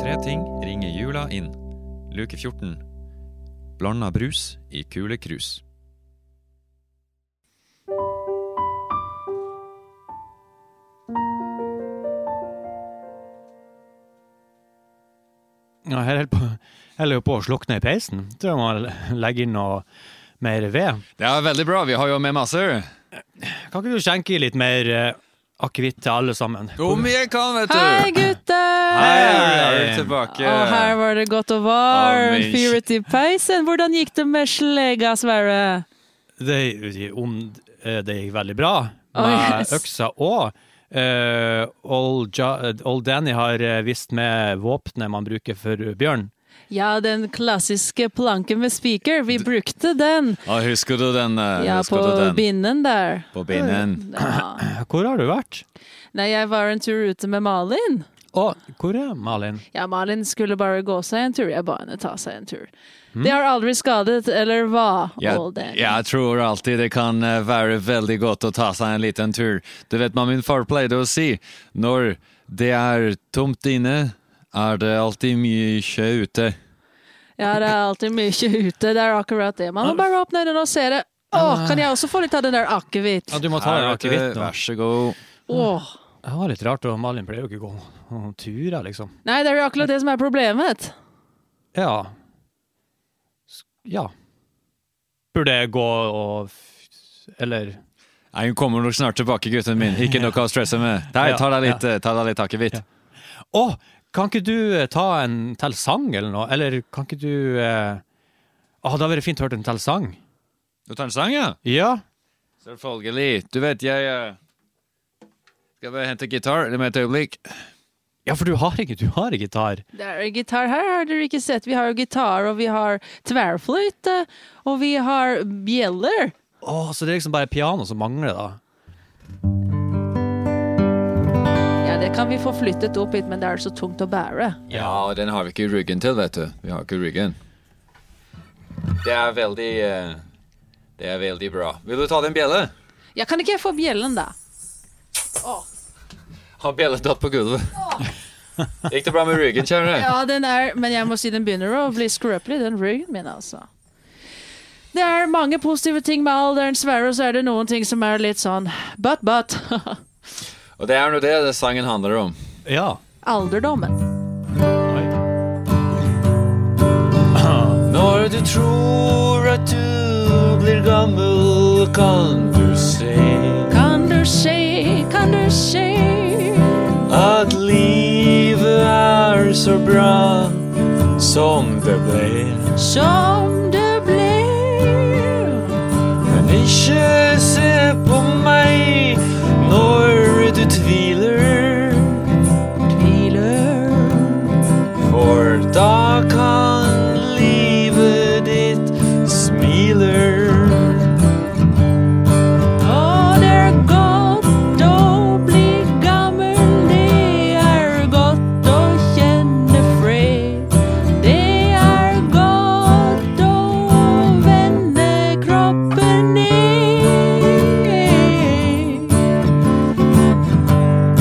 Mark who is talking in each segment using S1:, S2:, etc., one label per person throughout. S1: tre ting ringer jula inn. Luke 14. Blanda brus i kulekrus.
S2: Ja, jeg holder på, jeg holder jo på å slukne i peisen. Tror jeg må le- legge inn noe mer ved.
S1: Det er veldig bra, vi har jo med masse.
S2: Kan ikke du skjenke i litt mer eh, akevitt til alle sammen?
S1: Om jeg kan, vet du!
S3: Hei, gutter!
S1: Hei, er du tilbake?
S3: Og her var det godt og varmt.
S1: Amen.
S3: Fyret i peisen. Hvordan gikk det med slega, Sverre?
S2: Det, om eh, det gikk veldig bra
S3: Oh,
S2: med
S3: yes.
S2: øksa òg. old, ja, old Danny har eh, vist med våpenet man bruker for bjørn.
S3: Ja, den klassiske planken med spiker. Vi brukte den.
S1: Å, husker du den? eh,
S3: Ja,
S1: husker
S3: på
S1: du den?
S3: binden der.
S1: på binden.
S3: Ja.
S2: Hvor har du vært?
S3: Nei, jeg var en tur ute med Malin.
S2: Å, hvor er Malin?
S3: Ja, Malin skulle bare gå seg en tur. Jeg ba henne ta seg en tur.
S1: Hmm?
S3: Det har aldri skadet, eller hva?
S1: Jeg,
S3: Old Danny?
S1: jeg tror alltid det kan eh, være veldig godt å ta seg en liten tur. Du vet hva min far pleide å si? Når det er tomt inne, er det alltid mye sjø ute.
S3: Ja, det er alltid mye ute. Det er akkurat det. Man må bare åpne øynene og se det. Å,
S1: Ah.
S3: kan jeg også få litt av den der akevitt?
S2: Ja, du må ta
S1: Her,
S2: deg
S1: vet du.
S2: akevitt nå.
S1: Vær så god.
S3: Åh.
S2: Det var litt rart, og Malin pleier jo ikke å gå noen turer, liksom.
S3: Nei, det er jo akkurat det som er problemet.
S2: Ja. S- Ja. Burde jeg gå og f- Eller
S1: Nei, hun kommer nok snart tilbake, gutten min. Ikke noe å stresse med. Nei,
S2: Ja,
S1: ta deg litt,
S2: ja.
S1: eh, ta deg litt akevitt.
S2: Å, kan ikke du eh, ta en til sang eller noe? Eller kan ikke du eh... Å, det hadde vært fint å høre en til sang.
S1: Du tar en sang, ja?
S2: Ja.
S1: Selvfølgelig. Du vet, jeg eh, skal bare hente gitar om et øyeblikk.
S2: Ja, for du har ikke du har gitar.
S3: Det er jo gitar her, har dere ikke sett. Vi har jo gitar, og vi har tverrfløyte, og vi har bjeller.
S2: Å, så det er liksom bare piano som mangler, da.
S3: Ja, det kan vi få flyttet opp hit, men det er så tungt å bære.
S1: Ja, den har vi ikke ryggen til, vet du. Vi har ikke ryggen. Det er veldig eh, Det er veldig bra. Vil du ta den bjelle?
S3: Ja, kan ikke jeg få bjellen, da?
S1: Har bjellen tatt på gulvet? Gikk det bra med ryggen, kjære?
S3: Ja, den er Men jeg må si den begynner å bli skrøpelig, den ryggen min, altså. Det er mange positive ting med alderen, Sverre, og så er det noen ting som er litt sånn but, but.
S1: Og det er nå det det sangen handler om.
S2: Ja.
S3: Alderdommen.
S2: Oi.
S1: Når du tror at du blir gammel, kan du se
S3: Kan du se, kan du se
S1: at livet er så bra som det ble.
S3: som det ble?
S1: Men ikke se på meg når du tviler,
S3: Tviler.
S1: for da kan livet ditt smiler.
S3: Og det er godt å bli gammel, det er godt å kjenne fred. Det er godt å vende kroppen ned.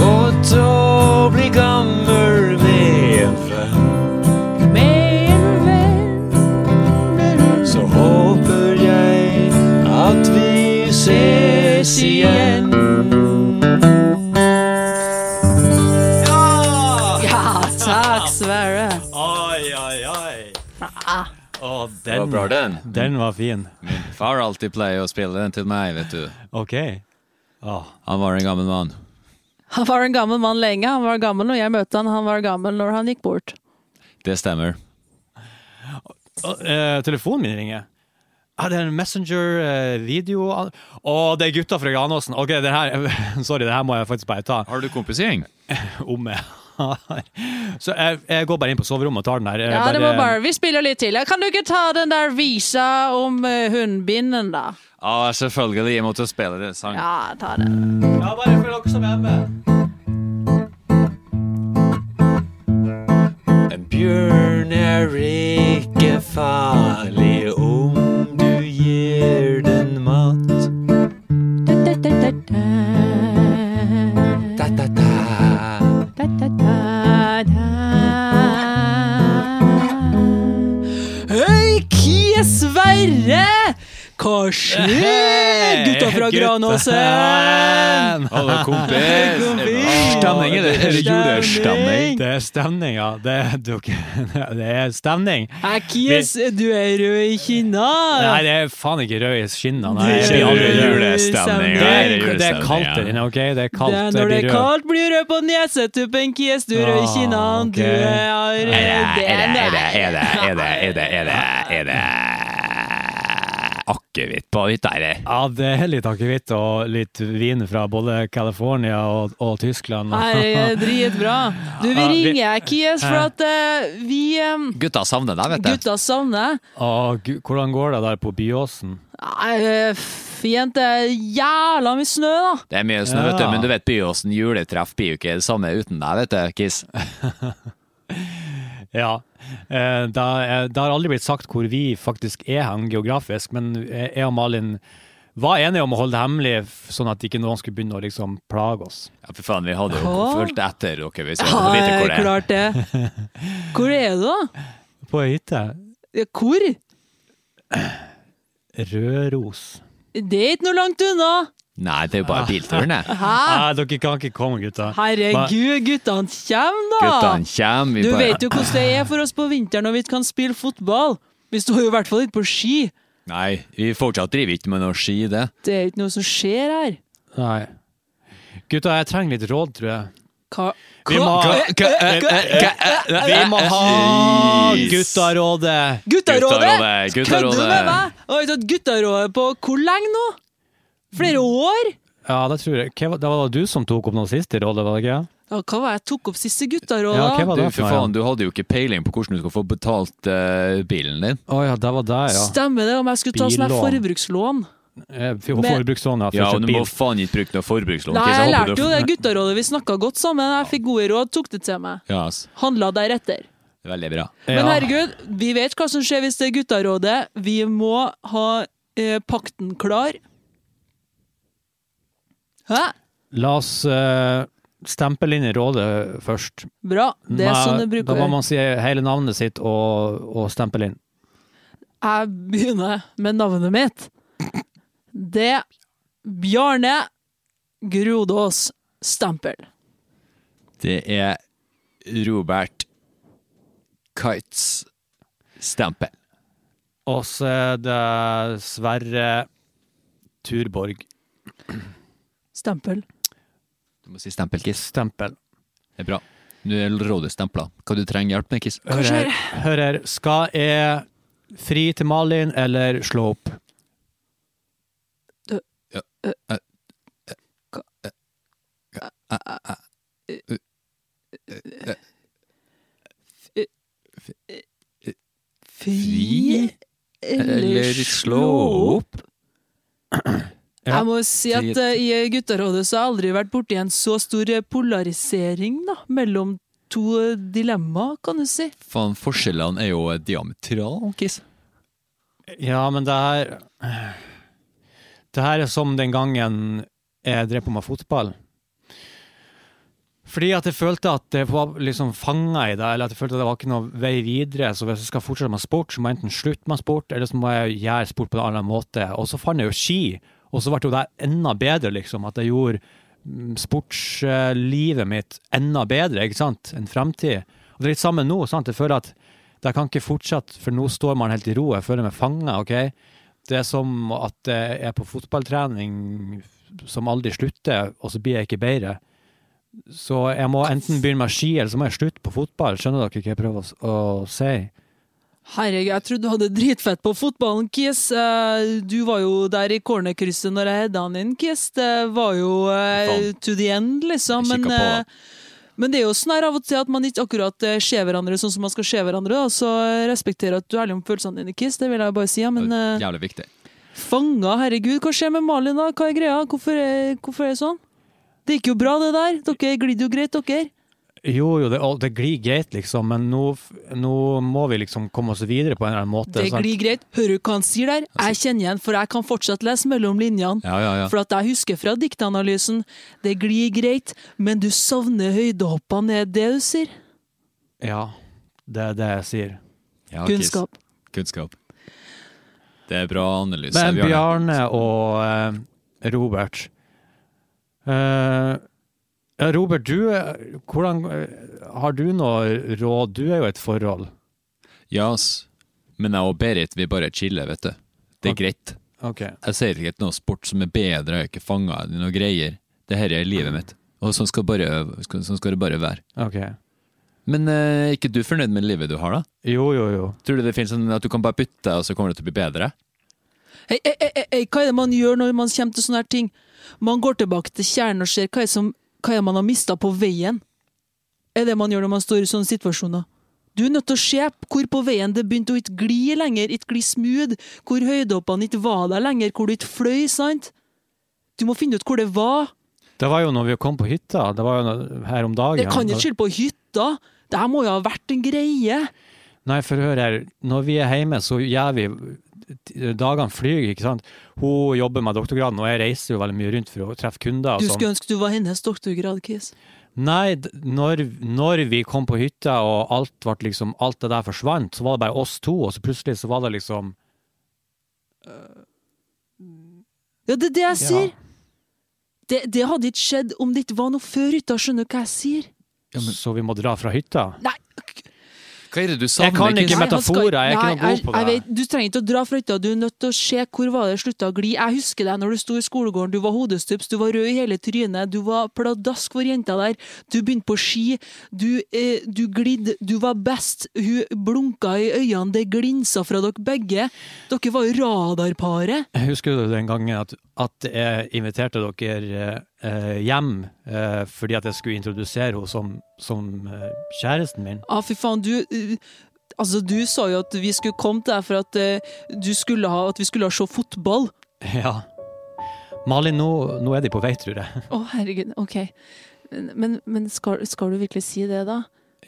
S1: Godt å bli gammel med en venn,
S3: Med en venn
S1: så håper jeg at vi ses igjen.
S2: Ja!
S3: Ja, takk, Sverre.
S2: Oi, oi, oi. Å, den
S1: var bra, den.
S2: Den var fin.
S1: Far alltid pleier å spille den til meg, vet du.
S2: OK. Å.
S1: Han var en gammel mann.
S3: Han var en gammel mann lenge. Han var gammel når jeg møtte han, han var gammel når han gikk bort.
S1: Det stemmer.
S2: Eh, telefonen min ringer. Ah, det er en Messenger-video Å, det er gutta fra Granåsen. Ok, det her, sorry, det her må jeg faktisk bare ta
S1: Har du kompisgjeng?
S2: om jeg har. Så jeg, jeg går bare inn på soverommet og tar den der. Jeg
S3: Ja, det var bare Vi spiller litt til. Ja, Kan du ikke ta den der visa om eh, hundbinden, da?
S1: Ja, selvfølgelig. Jeg måtte spille det sang.
S3: Ja, ta den.
S2: Ja, bare for dere som er hjemme.
S1: En bjørn er ikke farlig om du gir den mat. Da, da, da.
S3: Da-da-da-da.
S4: Hva
S3: Eh,
S4: skjer, gutta fra Granåsen?
S1: Alle kompis!
S4: Kompis!
S1: Stemning er det. Eller jo, det er stemning.
S2: Det er stemning, ja. Det, er- du- det er stemning.
S4: Ekkis, du er rød i kinna!
S2: Nei, det er faen ikke rød i skinnene. Nei,
S1: Det
S4: Det
S1: er
S4: er
S1: jule- julestemning.
S4: julestemning.
S2: Det
S1: Nei,
S2: er, det er
S1: julestemning,
S2: kaldt
S1: ja.
S2: der inne, OK? Det er kaldt.
S4: Det er når det
S2: blir
S4: er
S2: rød.
S4: kaldt, blir du rød på nesetuppen, Kis, du er rød i kinna,
S2: Ah, ok.
S4: du er
S3: Eh,
S2: Er det-
S4: rød
S1: Er det, er det, er det, er det, er det, er det akevitt på hytta, eller?
S2: Ja, det er litt akevitt og litt vin fra både California og, og Tyskland.
S3: Her er dritbra. Du, vi
S2: Ja, vi-
S3: ringer Kies, for at eh, vi um,
S1: Gutta savner deg, vet du.
S3: gutta savner
S2: Og gu- hvordan går det der på Byåsen?
S3: Nei, eh, f- Jente, jævla mye snø, da.
S1: Det er mye snø, vet du,
S2: Ja.
S1: men du vet Byåsen juletreff blir jo ikke det samme uten deg, vet du, Kiss.
S2: Ja. eh, da, eh, det har aldri blitt sagt hvor vi faktisk er hen geografisk, men eh, jeg jeg og Malin var enige om å holde det hemmelig, f- sånn at ikke noen skulle begynne å liksom plage oss.
S1: Ja, for faen, vi hadde jo
S3: Hå?
S1: fulgt etter dere hvis vi
S3: Ja,
S1: hadde vite hvor det er.
S3: klart det. Hvor er du, da?
S2: På ei hytte?
S3: Ja, Hvor?
S2: Røros.
S3: Det er ikke noe langt unna.
S1: Nei, det er jo bare bilturen, det.
S3: Hæ?
S4: Ah!
S2: Nei, dere kan ikke komme, gutta.
S3: Herregud, guttene kommer, da!
S1: Guttene kommer.
S3: Du
S1: Vi bare
S3: vet jo hvordan det er for oss på vinteren når vi ikke kan spille fotball. Vi står jo i hvert fall ikke på ski.
S1: Nei, vi fortsatt driver ikke med noe ski, det.
S3: Det er jo ikke noe som skjer her.
S2: Nei. Gutta, jeg trenger litt råd, tror jeg.
S3: Hva?
S2: Vi må,
S1: eh,
S2: eh, vi
S3: Eh,
S2: må ha guttarådet!
S3: Guttarådet?
S1: Guttarådet,
S3: Kødder du
S1: guttarådet.
S3: med meg? Jeg har ikke hatt guttarådet på hvor lenge nå? Flere år?
S2: Ja, det tror jeg. Hva, var- det var du som tok opp noe sist i rådet, var det ikke?
S3: Ja, hva var det jeg tok opp siste
S2: Ja,
S3: guttarådet?
S2: hva
S1: Du,
S2: var det
S1: for
S2: for noe?
S1: faen, du hadde jo ikke peiling på hvordan du skal få betalt eh, bilen din.
S2: Å ja, det var der, ja.
S3: Stemmer det om jeg skulle ta sånn her
S2: Billån.
S3: forbrukslån?
S2: Eh, for-
S3: Men-
S2: Forbrukslån, ja. for
S1: Ja,
S2: å
S1: og
S2: kjøpe
S1: du må
S2: bil.
S1: faen ikke bruke noe forbrukslån.
S3: Nei,
S1: Chris,
S3: jeg
S1: håper
S3: lærte
S1: du-
S3: jo det guttarådet. Vi snakka godt sammen. Jeg fikk gode råd, tok det til meg.
S1: Ja, ass.
S3: Handla deretter.
S1: Veldig bra.
S2: Ja.
S3: Men herregud, vi vet hva som skjer hvis det er guttarådet. Vi må ha eh, pakten klar. Hæ?
S2: La oss eh, stemple inn i rådet først.
S3: Bra. Det er
S2: Nei,
S3: sånn det
S2: Da
S3: bruker å
S2: må
S3: gjøre.
S2: man si hele navnet sitt og, og stemple inn.
S3: Jeg begynner med navnet mitt. Det er Bjarne Grodås Stempel.
S1: Det er Robert Kites stempel.
S2: Og så er det Sverre Turborg.
S3: Stempel.
S1: Du må si stempel, Kiss.
S2: Stempel.
S1: Det er bra. Nå er rådet stempla. Hva du trenger hjelp med, Kiss?
S2: Hør her, hør her. Skal jeg fri til Malin eller slå opp?
S1: Fri eller slå opp?
S2: Ja.
S3: Jeg må si at eh, i Gutterådet så har jeg aldri vært borti en så stor eh, polarisering da, mellom to eh, dilemmaer, kan du si.
S1: Faen, forskjellene er jo diametrale, Kiss.
S2: Ja, men det her Det her er som den gangen jeg drev på med fotball. Fordi at jeg følte at jeg var liksom fanga i det, eller at jeg følte at det var ikke noe vei videre. Så hvis jeg skal fortsette med sport, så må jeg enten slutte med sport, eller så må jeg gjøre sport på en annen måte. Og så fant jeg jo ski, og så ble jo det enda bedre, liksom. At jeg gjorde mm, sportslivet mitt enda bedre, ikke sant? En fremtid. Og det er litt samme nå, sant? Jeg føler at det kan ikke fortsette, for nå står man helt i ro. Jeg føler meg fanga, OK? Det er som at jeg er på fotballtrening som aldri slutter, og så blir jeg ikke bedre. Så jeg må enten begynne med ski, eller så må jeg slutte på fotball. Skjønner dere hva jeg prøver å, s- å si?
S3: Herregud, jeg trodde du hadde dritfett på fotballen, Kies. Eh, Du var jo der i cornerkrysset når jeg hedda han inn, Kies. Det var jo eh, to the end, liksom.
S1: Jeg
S3: Men,
S1: kikket på
S3: eh, men det er jo sånn her av og til at man ikke akkurat eh, ser hverandre sånn som man skal se hverandre. Da. Så eh, respekterer at du er ærlig om følelsene dine, Kies. Det vil jeg bare si. Ja, men eh,
S1: Jævlig viktig.
S3: Fanga, herregud, hva skjer med Malin da? Hva er greia? Hvorfor er, hvorfor er det sånn? Det gikk jo bra det der, dere glidde jo greit, dere.
S2: Jo, jo, det, og det glir greit, liksom, men nå, f- nå må vi liksom komme oss videre på en eller annen måte.
S3: Det
S2: sant?
S3: glir greit. Hører du hva han sier der? Jeg kjenner igjen, for jeg kan fortsatt lese mellom linjene.
S1: Ja, ja, ja.
S3: For at jeg husker fra diktanalysen, det glir greit, men du savner høydehoppene, er det du sier?
S2: Ja, det er det jeg sier.
S1: Ja, Kiss.
S3: Kunnskap.
S1: Kunnskap. Det er bra analyse,
S2: Men
S1: Bjarne.
S2: Bjarne og eh, Robert eh, ja, Robert, du, eh, hvordan, eh, har du noe råd? Du er jo i et forhold.
S1: Ja, ass. Men jeg og Berit, vi bare chiller, vet du. Det er greit.
S2: Ok.
S1: Jeg ser ikke noe sport som er bedre, jeg er ikke fanga i noe greier. Det her er livet mitt. Og sånn skal, bare, sånn skal det bare være.
S2: ok.
S1: Men eh, er ikke du fornøyd med livet du har, da?
S2: Jo, jo, jo.
S1: Tror du det finnes sånn at du kan bare bytte, og så kommer det til å bli bedre?
S3: Hei, hei, hei, hei, hei, hva er det man gjør når man kommer til sånne her ting? Man går tilbake til kjernen og ser hva er, som, hva er det man har mista på veien. Er det man gjør når man står i sånne situasjoner. Du er nødt til å se hvor på veien det begynte å ikke gli lenger, ikke gli smooth, hvor høydehoppene ikke var der lenger, hvor du ikke fløy, sant? Du må finne ut hvor det var.
S2: Det var jo når vi kom på hytta. Det var jo når- her om dagen.
S3: Det kan ikke skylde på hytta. Det her må jo ha vært en greie.
S2: Nei, for hør her. Når vi er hjemme, så gjør vi Dagene flyr, ikke sant. Hun jobber med doktorgraden, og jeg reiser jo veldig mye rundt for å treffe kunder. og
S3: Du
S2: sånn.
S3: skulle ønske du var hennes doktorgrad, Kis.
S2: Nei, d- når, når vi kom på hytta og alt, vart liksom, alt det der forsvant, så var det bare oss to, og så plutselig så var det liksom
S3: Ja, det er det jeg
S2: Ja.
S3: sier. Det, det hadde ikke skjedd om det ikke var noe før hytta, skjønner du hva jeg sier?
S2: Så vi må dra fra hytta.
S3: Nei,
S1: Hva er det du
S2: Jeg kan
S1: savner?
S2: ikke
S1: Chris?
S3: Nei, han
S2: metaforer, jeg er ikke
S3: Nei,
S2: noe god på
S3: jeg-
S2: det.
S3: jeg vet, du trenger ikke å dra fra hytta, du er nødt til å se hvor var det slutta å gli. Jeg husker deg når du sto i skolegården, du var hodestups, du var rød i hele trynet, du var pladask for jenta der, du begynte på ski, du, eh, du glidde, du var best, hun blunka i øynene, det glinsa fra dere begge. Dere var jo radarparet.
S2: Husker du den gangen at, at jeg inviterte dere eh, hjem eh, fordi at jeg skulle introdusere henne som, som eh, kjæresten min?
S3: Ja, fy faen, du eh, Altså, du sa jo at vi skulle komme til deg for at eh, du skulle ha At vi skulle ha se fotball.
S2: Ja. Malin, nå, nå er de på vei, tror jeg.
S4: Å, herregud. Ok. Men, men, men skal, skal du virkelig si det, da?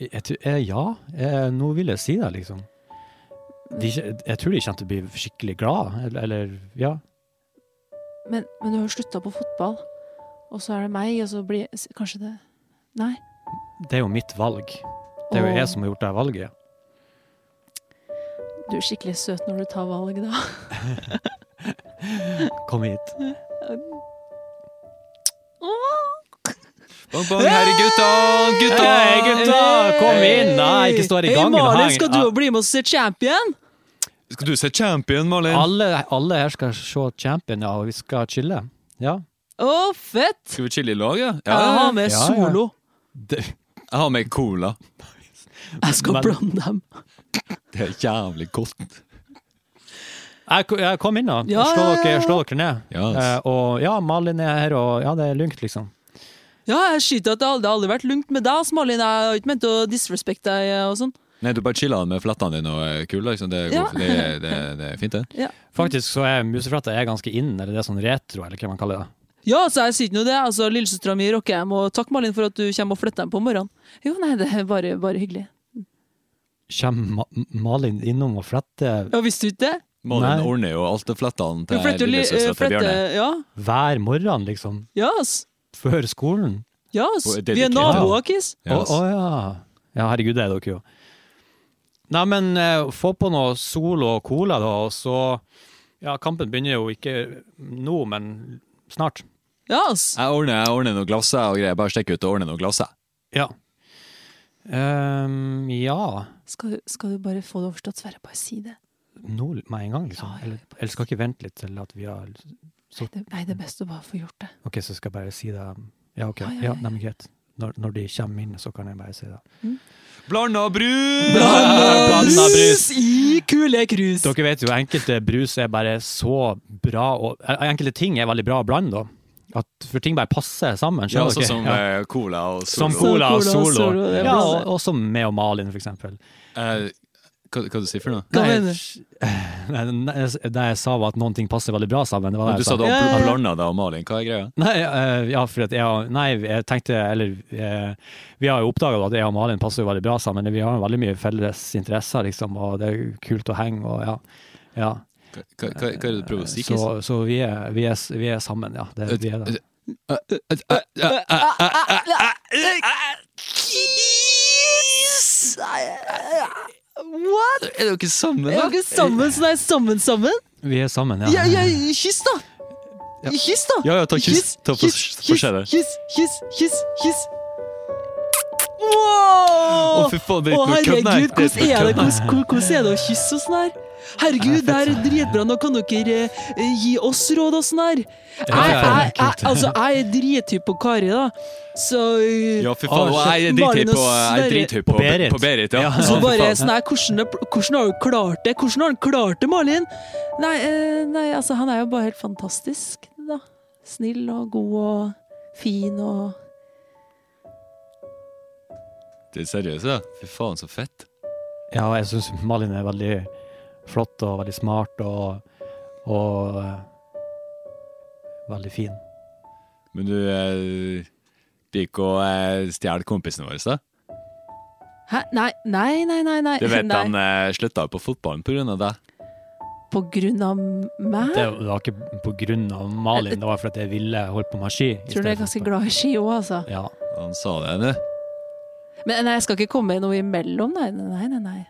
S2: jeg tror, eh, ja, eh, nå vil jeg si det, liksom. De, jeg tror de kommer til å bli skikkelig glad, eller, eller ja.
S4: Men, men du har slutta på fotball, og så er det meg, og så blir s- Kanskje det Nei.
S2: Det er jo mitt valg. Det er jo
S4: Åh.
S2: jeg som har gjort det valget.
S4: Du er skikkelig søt når du tar valg, da.
S2: Kom hit.
S1: Bang, bang, her er gutta! Gutta!
S2: Hei, gutta! Kom inn! Nei, ikke stå her i gangen.
S3: Hei, Malin,
S2: heng.
S3: skal du
S2: Ah,
S3: òg bli med oss til Champion?
S1: Skal du se champion, Malin?
S2: alle, alle her skal se Champion, ja, og vi skal chille. Ja.
S3: Å, fett!
S1: Skal vi chille i lag, ja?
S3: Jeg har med
S2: Ja, ja.
S3: solo.
S1: Jeg har med cola.
S3: Jeg skal
S2: Men-
S3: blande dem.
S1: Det er jævlig godt.
S2: Jeg, Eh, ko- jeg kom inn, da.
S3: Ja,
S2: slå,
S3: ja, ja.
S2: Dere, slå dere ned.
S1: Ja,
S2: Eh,
S1: ass.
S2: og ja, Malin er her, og ja, det er lugnt, liksom.
S3: Mm. Ja, jeg skyter at det aldri har aldri vært lugnt med deg, ass, Malin. Jeg har ikke ment å disrespekte deg eh, og sånn.
S1: Nei, du bare chiller med flettene dine og er kul, liksom. Det,
S3: Ja.
S1: går, det, det, det er fint, det.
S2: Faktisk så er musefletta er ganske in, eller det er sånn retro, eller hva man kaller det.
S3: Ja, så jeg sier ikke noe det. Altså, Lillesøstera mi rocker dem, og takk, Malin, for at du kommer og flytter dem på morgenen.
S4: Jo, nei, det er bare, bare hyggelig.
S2: Kommer Ma Malin innom og fletter
S3: Ja, visste du ikke det?
S1: Malin
S2: Nei.
S1: ordner jo alt det flettene
S3: Hun
S1: til
S3: flytter jo li- eh,
S1: lillesøstera til
S3: flytter-
S1: Bjørne.
S3: Ja,
S2: hver morgen, liksom?
S3: ja, ass.
S2: Før skolen?
S3: Ja, ass.
S1: Og er
S3: Vi er
S1: dedikert.
S3: naboer, Kis.
S2: Å
S1: Ja, ass.
S2: å, ja. ja, herregud, det er dere jo. Nei, men eh, få på noe Solo og Cola, da, og så Ja, kampen begynner jo ikke nå, men snart.
S3: Ja, ass.
S1: Jeg ordner, jeg ordner noen glass jeg, og greier. Bare stikk ut og ordne noen glass. jeg.
S2: Ja. Ehm, ja
S4: Skal, du- skal du bare få det overstått, Sverre? Bare si det.
S2: Nå med en gang, liksom? Eller, eller skal jeg ikke vente litt til at vi har
S4: Nei, det, nei, det er best å bare få gjort det.
S2: OK, så skal jeg bare si det Ja, OK.
S4: Ja,
S2: Ja,
S4: ja, ja, ja.
S2: nei, men greit. Når, når de kommer inn, så kan jeg bare si det.
S4: Mm.
S1: Blanda brus!
S2: Blanda brus!
S3: i kule krus.
S2: Dere vet jo, enkelte brus er bare så bra, og eh, enkelte ting er veldig bra å blande, da. At, for ting bare passer sammen.
S1: Ja,
S2: skjønner
S1: sånn
S2: dere?
S1: som
S2: Ja.
S1: eh, cola og solo.
S2: Som cola og
S3: Som cola og
S2: solo.
S3: solo, det er
S2: Ja,
S3: bra.
S2: og, og som med og Malin, for eksempel.
S1: Eh, hva, hva du sier for noe?
S3: Hva
S2: Nei,
S3: mener
S2: Nei, nei, det jeg sa var at noen ting passer veldig bra sammen. Det var det
S1: Du
S2: jeg
S1: sa
S2: sa.
S1: du
S3: Ja, ja,
S1: har
S3: ja.
S1: blanda deg og Malin. Hva er greia?
S2: Nei, eh, ja, for at jeg, nei, jeg tenkte Eller eh, vi har jo oppdaga at jeg og Malin passer jo veldig bra sammen. Vi har jo veldig mye felles interesser, liksom, og det er jo kult å henge og ja. ja.
S1: Hva, hva, hva er det du prøver å si?
S2: Eh, Så, så vi, er, vi, er, vi er sammen, ja. Det, vi er det.
S1: Eh, What? Er dere sammen,
S3: Er
S1: da?
S3: dere sammen, så det er sammen sammen?
S2: Vi er sammen, ja.
S3: Ja, ja, kyss, da!
S2: Ja.
S3: Kyss, da!
S1: Ja, ja, ta kyss. Ta for- for
S3: kyss,
S1: skjæret.
S3: kyss, kyss, kyss, kyss.
S1: Å,
S3: Wow!
S1: fy faen, det er
S3: Å,
S1: ikke noe kødd, nei. Det
S3: herregud,
S1: er ikke noe
S3: hvordan er det
S1: kødd.
S3: Hvordan- hvor- hvordan er det å kysse og sånn her? Herregud, det er dritbra. Nå kan dere eh, gi oss råd og sånn her. Jeg,
S2: Ja, ja, ja.
S3: jeg, jeg, altså, jeg er drithypp på Kari, da. Så eh,
S1: Ja, fy faen.
S2: Å,
S1: og Jeg er
S3: shit.
S1: drithøy
S3: Malin og
S1: på, jeg er
S3: Sverre.
S1: drithøy på,
S2: På Berit.
S1: på Berit. Ja.
S2: Ja.
S1: Ja,
S3: så
S1: fy
S3: bare
S1: faen.
S3: sånn her, hvordan, er- hvordan har du klart det? Hvordan har han klart det, Malin? Nei, eh, nei, altså han er jo bare helt fantastisk, da. Snill og god og fin og
S1: Det er seriøst, ja. Fy faen, så fett.
S2: Ja, og jeg syns Malin er veldig flott og veldig smart og, og eh, veldig fin.
S1: Men du eh, det gikk og eh, stjal kompisene våre, da?
S3: Hæ? Nei, nei, nei, nei. nei.
S1: Du vet
S3: nei.
S1: han eh, slutta jo på fotballen på grunn av deg.
S3: På grunn av meg?
S2: Det var ikke på grunn av Malin, det var fordi jeg ville holde på med ski. i
S3: Tror du jeg
S2: stedet
S3: er ganske
S2: for-
S3: glad i ski òg, altså.
S2: Ja.
S1: Han sa det, du.
S3: Men nei, jeg skal ikke komme noe imellom, nei. Nei, nei, nei.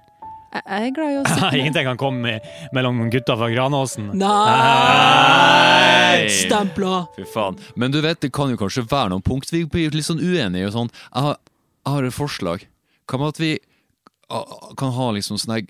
S3: Jeg, jeg er glad i å sykle.
S2: Ingenting kan komme i- mellom gutta fra Granåsen.
S3: Nei! Stempla!
S1: Fy faen. Men du vet, det kan jo kanskje være noen punkt vi blir litt sånn uenige og sånn. Jeg har, jeg har et forslag. Hva med at vi ah, kan ha liksom sånn her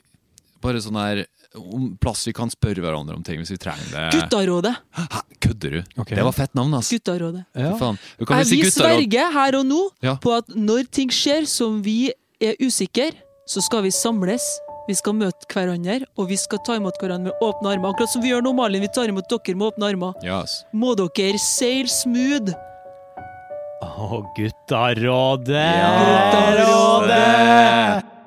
S1: Bare sånn her om plass vi kan spørre hverandre om ting hvis vi trenger det.
S3: Guttarådet.
S1: Hæ, kødder du?
S2: Ok.
S1: Det var fett navn, ass.
S3: Guttarådet.
S1: Fy
S2: Ja.
S1: faen. Du kan
S3: Nei,
S1: vel si
S3: vi
S1: gutter og
S3: sverger her og nå
S1: Ja.
S3: på at når ting skjer som vi er usikre, så skal vi samles. Vi skal møte hverandre, og vi skal ta imot hverandre med åpne armer. Akkurat som vi gjør nå, Malin. Vi tar imot dere med åpne armer.
S1: Ja, ass.
S3: Må dere seil smooth.
S2: Å, guttarådet!
S1: Guttarådet!